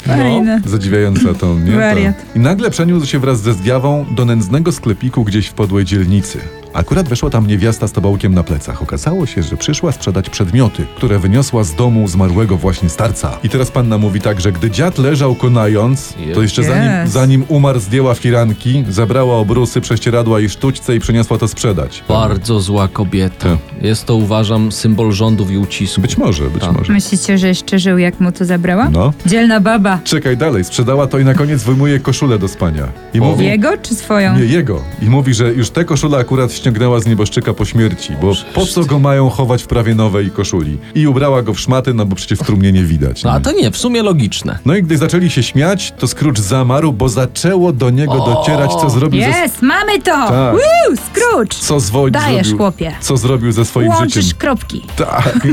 Fajne.
Zadziwiająca to, nie?
Wariat.
To. I nagle przeniósł się wraz ze zjawą do nędznego sklepiku gdzieś w podłej dzielnicy. Akurat weszła tam niewiasta z tabałkiem na plecach. Okazało się, że przyszła sprzedać przedmioty, które wyniosła z domu zmarłego właśnie starca. I teraz panna mówi tak, że gdy dziad leżał konając, to jeszcze zanim,
Yes.
zanim umarł zdjęła firanki, zabrała obrusy, prześcieradła i sztućce i przyniosła to sprzedać.
Bardzo zła kobieta. Jest to, uważam, symbol rządów i ucisku.
Tak. Być może, być
Tak.
może.
Myślicie, że jeszcze żył, jak mu to zabrała?
No.
Dzielna baba.
Czekaj dalej, sprzedała to i na koniec wyjmuje koszulę do spania. I mówi,
Jego czy swoją?
Nie jego. I mówi, że już tę koszulę akurat ściągnęła z nieboszczyka po śmierci, bo po co go mają chować w prawie nowej koszuli? I ubrała go w szmaty, no bo przecież w trumnie nie widać.
No, a
nie?
to nie, w sumie logiczne.
No i gdy zaczęli się śmiać, to Scrooge zamarł, bo zaczęło do niego docierać, co zrobił ze...
Jest, mamy to!
Tak.
Woo, Scrooge!
Co zwo...
Dajesz,
zrobił,
chłopie.
Co zrobił ze swoim
Łączysz
życiem.
kropki.
Tak.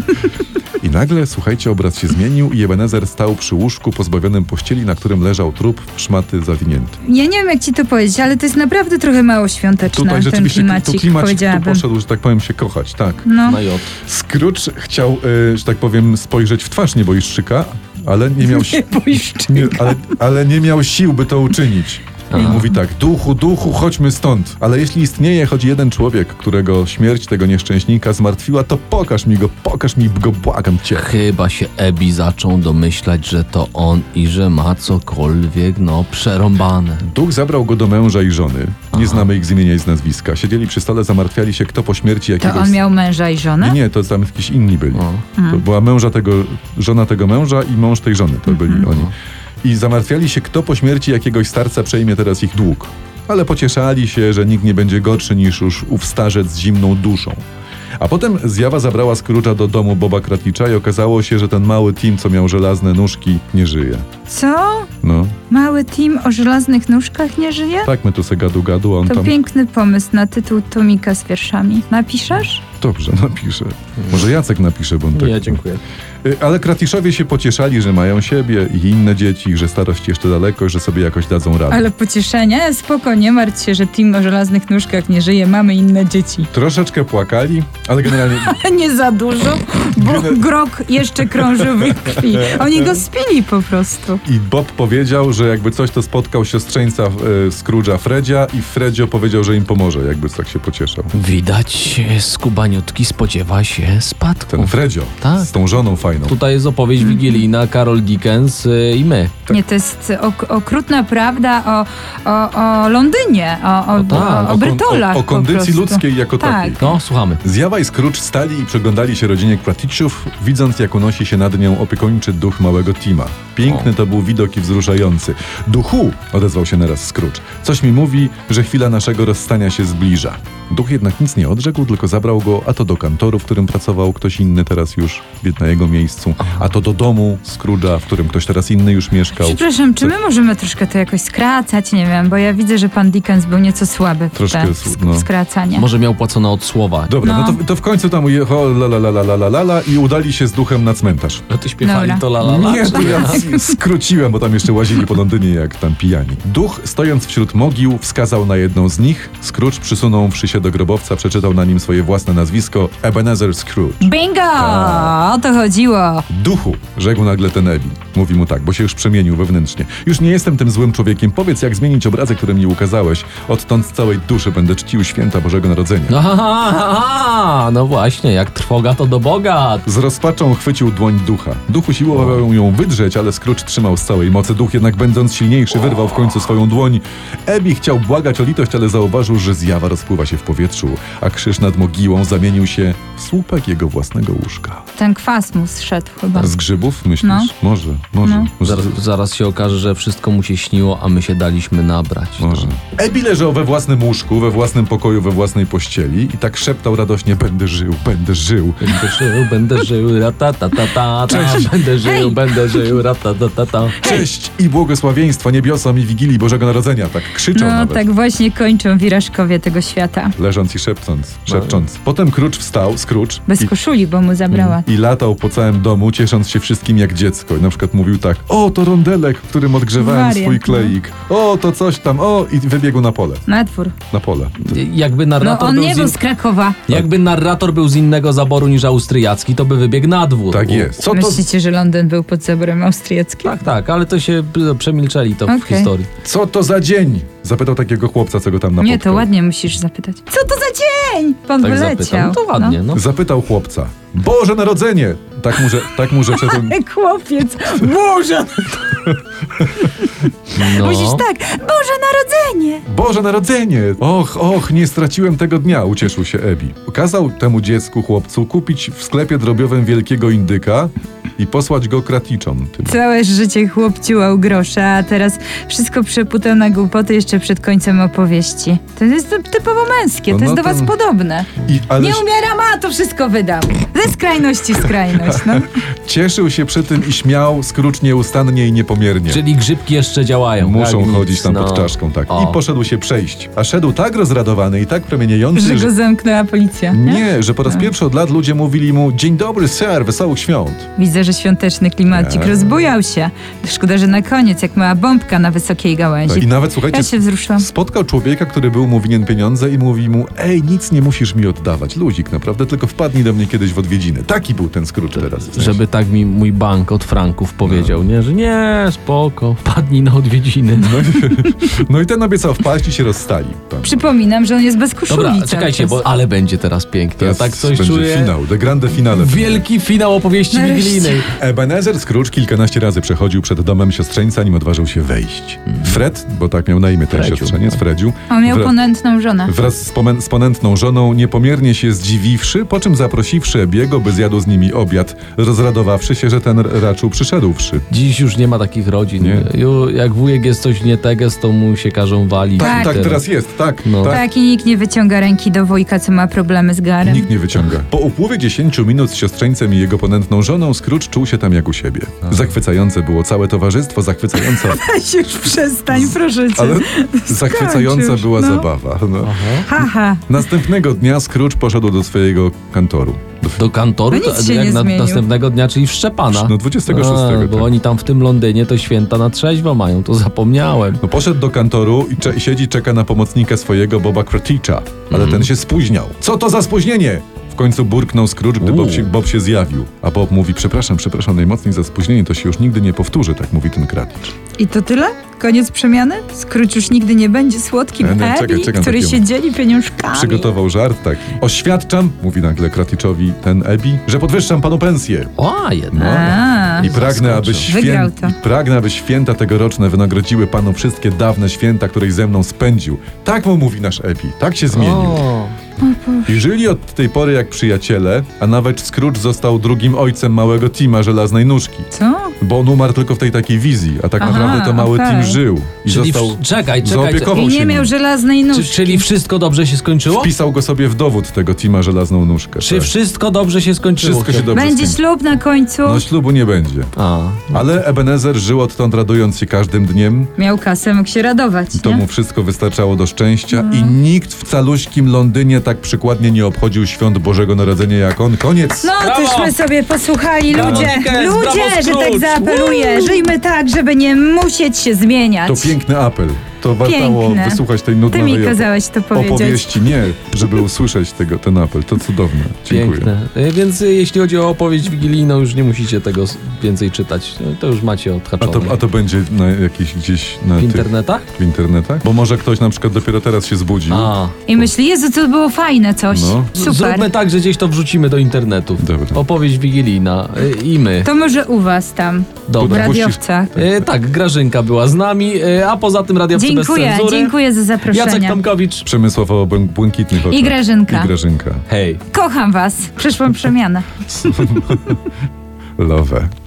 I nagle, słuchajcie, obraz się zmienił i Ebenezer stał przy łóżku pozbawionym pościeli, na którym leżał trup, w szmaty zawinięty.
Ja nie wiem, jak ci to powiedzieć, ale to jest naprawdę trochę mało świąteczne,
Tutaj
ten
tak rzeczywiście tu
klimacik,
klimacik tu
powiedziałabym.
poszedł, że tak powiem, się kochać, tak.
No,
Na J.
Scrooge chciał, e, że tak powiem, spojrzeć w twarz nieboiszczyka, ale nie miał, si- nie, ale, ale nie miał sił, by to uczynić. I mówi tak, duchu, duchu, chodźmy stąd. Ale jeśli istnieje choć jeden człowiek, którego śmierć tego nieszczęśnika zmartwiła, to pokaż mi go, pokaż mi go, błagam cię.
Chyba się Ebi zaczął domyślać, że to on i że ma cokolwiek, no, przerąbane.
Duch zabrał go do męża i żony. Nie znamy ich z imienia i z nazwiska. Siedzieli przy stole, zamartwiali się, kto po śmierci
to
jakiegoś...
on miał męża i żonę?
Nie, nie, to tam jakiś inni byli. To była męża tego, żona tego męża i mąż tej żony, to byli oni. I zamartwiali się, kto po śmierci jakiegoś starca przejmie teraz ich dług. Ale pocieszali się, że nikt nie będzie gorszy niż już ów starzec z zimną duszą. A potem zjawa zabrała Scrooge'a do domu Boba Kratnicza i okazało się, że ten mały Tim, co miał żelazne nóżki, nie żyje.
Co?
No,
Mały Tim o żelaznych nóżkach nie żyje?
tak my tu se gadu gadu, a on
To
tam...
piękny pomysł na tytuł tomika z wierszami. Napiszesz?
Dobrze, napiszę. Może Jacek napisze, bo on tak...
Nie, dziękuję.
Y, Ale kratiszowie się pocieszali, że mają siebie i inne dzieci, że starość jeszcze daleko, że sobie jakoś dadzą radę.
Ale pocieszenie? Spoko, nie martw się, że Tim o żelaznych nóżkach nie żyje, mamy inne dzieci.
Troszeczkę płakali, ale generalnie
Nie za dużo, bo grok jeszcze krążył w ich krwi. Oni go spili po prostu.
i Bob powiedział, że jakby coś to spotkał siostrzeńca y, Scrooge'a Fredzia i Fredzio powiedział, że im pomoże, jakby tak się pocieszał.
Widać, skubaniutki spodziewa się spadku.
Ten Fredzio
Tak.
z tą żoną fajną.
Tutaj jest opowieść wigilijna, Karol Dickens y, i my.
Tak.
Nie, to jest ok- okrutna prawda o, o, o Londynie, o, o,
O tak,
o, o
kon-
Brytolach.
o, o
po
kondycji
prostu.
ludzkiej jako
Tak.
takiej.
No, słuchamy.
Zjawa i Scrooge stali i przeglądali się rodzinie Kraticzów, widząc jak unosi się nad nią opiekuńczy duch małego Tima. Piękny to był widok i wzruszający. Duchu! odezwał się naraz Scrooge. Coś mi mówi, że chwila naszego rozstania się zbliża. Duch jednak nic nie odrzekł, tylko zabrał go a to do kantoru, w którym pracował ktoś inny teraz już na jego miejscu, a to do domu Scrooge'a, w którym ktoś teraz inny już mieszkał.
Przepraszam, czy my
Tak.
możemy troszkę to jakoś skracać? Nie wiem, bo ja widzę, że pan Dickens był nieco słaby w
Troszkę
te
sł-
sk-
no.
skracanie.
Może miał płacone od słowa.
Dobra, no,
No.
to, to w końcu tam ujechało la la la la la la la i udali się z duchem na cmentarz.
No to śpiewali
Dobra.
to la la Tak. la.
Nie, to ja s- skróciłem, bo tam jeszcze łazili po Londynie jak tam pijani. Duch, stojąc wśród mogił, wskazał na jedną z nich. Scrooge przysunąwszy się do grobowca, przeczytał na nim swoje własne nazwisko Ebenezer Scrooge.
Bingo!
Tak.
O to chodziło.
Duchu, rzekł nagle ten Ebin. Mówi mu tak, bo się już przemienił wewnętrznie. Już nie jestem tym złym człowiekiem. Powiedz, jak zmienić obrazek, który mi ukazałeś. Odtąd z całej duszy będę czcił święta Bożego Narodzenia.
No, ha, ha, ha, ha. no właśnie, jak trwoga to do Boga.
Z rozpaczą chwycił dłoń ducha. Duchu siłował ją wydrzeć, ale Scrooge trzymał z całej mocy. Duch jednak będąc silniejszy wyrwał w końcu swoją dłoń. Ebi chciał błagać o litość, ale zauważył, że zjawa rozpływa się w powietrzu, a krzyż nad mogiłą zamienił się w słupek jego własnego łóżka.
Ten kwas mu zszedł chyba.
Z grzybów, myślisz?
Tak. No.
Może, może.
No.
może
Zaraz, zaraz się okaże, że wszystko mu się śniło, a my się daliśmy nabrać.
Może. Ebi leżał we własnym łóżku, we własnym pokoju, we własnej pościeli i tak szeptał radośnie: Będę żył, będę żył.
No. Będę żył, będę żył, ratatatata, będę żył, będę żył, ratatatata.
Cześć i błogosławieństwo niebiosom i wigilii Bożego Narodzenia. Tak krzyczał
No
nawet.
tak właśnie kończą wirażkowie tego świata.
leżąc i szepcząc, szepcząc. Potem Krucz wstał, Scrooge,
Bez koszuli, bo mu zabrała.
i, i latał po całym domu, ciesząc się wszystkim jak dziecko. I na przykład mówił tak, o, to rondelek, w którym odgrzewałem
Wariant,
swój
no.
kleik. O, to coś tam, o, i wybiegł na pole,
Na dwór.
na pole.
Jakby
No
narrator
on
był
nie
z
był
in...
z Krakowa.
Jakby narrator był z innego zaboru niż austriacki, to by wybiegł na dwór.
Tak jest. Co to,
Myślicie, że Londyn był pod zaborem austriackim?
Tak, tak, ale to się p- przemilczeli to w
Okej.
historii.
co to za dzień? Zapytał takiego chłopca, co go tam napotkał.
Nie, to ładnie musisz zapytać. Co to za dzień? Pan
Tak
wyleciał.
zapytam. No to ładnie, no.
Zapytał chłopca, Boże Narodzenie! Tak mu, że, tak mu rzeczy ten...
No. Chłopiec, Boże!
no.
Musisz tak, Boże Narodzenie!
Boże Narodzenie! Och, och, nie straciłem tego dnia, ucieszył się Ebi. Kazał temu dziecku, chłopcu, kupić w sklepie drobiowym wielkiego indyka i posłać go kraticzom. Tym.
Całe życie chłop ciłał grosze, a teraz wszystko przeputał na głupoty jeszcze przed końcem opowieści. To jest typowo męskie,
No,
to
no
jest
to-
do was podobne.
I, ale
Nie umieram, a to wszystko wydam. Ze skrajności w skrajność, no.
cieszył się przy tym i śmiał, skrócz nieustannie i niepomiernie.
Czyli grzybki jeszcze działają.
Muszą
tak, nic,
chodzić tam
no.
pod czaszką, tak.
O.
I poszedł się przejść. A szedł tak rozradowany i tak
Że
promieniejący,
go Tak.
że...
zamknęła policja, nie?
Nie, że po raz pierwszy od lat ludzie mówili mu Dzień dobry, sir, wesołych świąt.
Widzę, że świąteczny
Tak.
klimacik rozbujał się. Szkoda, że na koniec, jak mała bombka na wysokiej gałęzi.
Tak, I nawet, słuchajcie,
Ja się wzruszyłam.
Spotkał człowieka, który był mu winien pieniądze i mówi mu, ej, nic nie musisz mi oddawać, luzik, naprawdę, tylko wpadnij do mnie kiedyś w odwiedziny. Taki był ten Scrooge teraz. w sensie.
Żeby tak mi mój bank od franków powiedział, nie? Że nie, spoko, padnij na odwiedziny.
No i ten obiecał wpaść i się rozstali. Tam.
Przypominam, że on jest bez koszuli
Dobra,
cały
czekajcie,
czas.
bo ale będzie teraz pięknie. Ja tak coś
będzie
czuję.
finał, de grande finale.
Wielki finał opowieści
Nareszcie.
wigilijnej. Okej.
Ebenezer Scrooge kilkanaście razy przechodził przed domem siostrzeńca, nim odważył się wejść. Fred, bo tak miał na imię ten
Mhm. Fredziu,
siostrzeniec,
tak.
Fredziu,
On miał
wra-
ponętną żonę.
wraz z, pomen- z ponętną żoną niepomiernie się zdziwiwszy, po czym zaprosiwszy Ebiego, by zjadł z nimi obiad, rozradowawszy się, że ten raczył przyszedłszy.
Dziś już nie ma takich rodzin.
Nie.
Ju, jak wujek jest coś nie teges, to mu się każą walić.
Tak,
I
tak
tyle.
teraz jest, tak,
No.
tak.
Tak, i nikt nie wyciąga ręki do wujka, co ma problemy z garem.
Nikt nie wyciąga. Po upływie 10 minut z siostrzeńcem i jego ponętną żoną, Scrooge czuł się tam jak u siebie. Zachwycające było całe towarzystwo, zachwycająca,
Weź już przestań, proszę cię.
ale zachwycająca
już,
była
no.
zabawa. No.
Haha.
Następnego dnia Scrooge poszedł do swojego kantoru. Do f-
Do kantoru
No nic
to,
się
jak
nie
na,
zmienił.
następnego dnia, czyli w Szczepana.
No, 26,
A, Bo
tak.
oni tam w tym Londynie to święta na trzeźwo mają, to zapomniałem.
No poszedł do kantoru i cze- siedzi, czeka na pomocnika swojego Boba Kraticza, ale ten się spóźniał. Co to za spóźnienie? W końcu burknął Scrooge, gdy Bob się, Bob się zjawił. A Bob mówi, przepraszam, przepraszam najmocniej za spóźnienie, to się już nigdy nie powtórzy, tak mówi ten Kraticz.
I to tyle? Koniec przemiany? Scrooge już nigdy nie będzie słodkim
Nie, nie, E, no, czekaj,
Ebi,
czekam
który
takiego.
się dzieli pieniążkami.
Przygotował żart taki. Oświadczam, mówi nagle Kraticzowi ten Ebi, że podwyższam panu pensję. No.
O, jednak.
A,
I pragnę, aby
Wygrał
święt,
to.
I pragnę, aby święta tegoroczne wynagrodziły panu wszystkie dawne święta, któreś ze mną spędził. Tak mu mówi nasz Epi, tak się zmienił.
O.
I żyli od tej pory jak przyjaciele, a nawet Scrooge został drugim ojcem małego Tima żelaznej nóżki.
co?
Bo on umarł tylko w tej takiej wizji, a tak
Aha,
naprawdę to mały
okej.
Tim żył. I
Czyli
został.
w... czekaj, czekaj.
zaopiekował
I
się
nie
nim.
miał żelaznej
Czy,
nóżki.
czyli wszystko dobrze się skończyło?
Wpisał go sobie w dowód tego Tima żelazną nóżkę.
Czy
tak.
wszystko dobrze się skończyło?
Wszystko się dobrze
Będzie
skończy.
ślub na końcu.
No ślubu nie będzie.
A,
Ale Ebenezer żył odtąd radując się każdym dniem,
Miał kasę, mógł się radować,
To
nie? Mm.
mu wszystko wystarczało do szczęścia i nikt w caluśkim Londynie tak przykładnie nie obchodził świąt Bożego Narodzenia jak on. Koniec!
No,
Brawo!
tośmy sobie posłuchali,
Brawo,
ludzie,
Dickens,
ludzie,
brawo,
że tak
Scrooge.
zaapeluję. Żyjmy tak, żeby nie musieć się zmieniać.
To piękny apel. To wartało
Piękne.
wysłuchać tej
Ty mi
nudnej
kazałeś to powiedzieć.
opowieści. Nie, żeby usłyszeć tego, ten apel. To cudowne. Dziękuję.
piękne. Y, Więc y, jeśli chodzi o opowieść wigilijną, już nie musicie tego s- więcej czytać. Y, To już macie
A
odhaczone.
to, a to będzie na jakiś gdzieś na
W
tych-
internetach?
w internetach? Bo może ktoś na przykład dopiero teraz się zbudził.
A.
I myśli, Jezu, to było fajne coś.
No.
Z-
Super.
Zróbmy tak, że gdzieś to wrzucimy do internetu.
Dobra.
Opowieść wigilijna y, i my.
To może u was tam, w
Dobra.
Dobra. Puścisz-
radiowcach.
Y, tak, Grażynka była z nami, y, a poza tym Radia bez
Dziękuję,
cenzury.
dziękuję za zaproszenie.
Jacek Tomkowicz.
Przemysław o błę- błękitnych oczach.
I Grażynka.
I Grażynka.
Hej.
Kocham was. Przyszłam przemianę.
Love.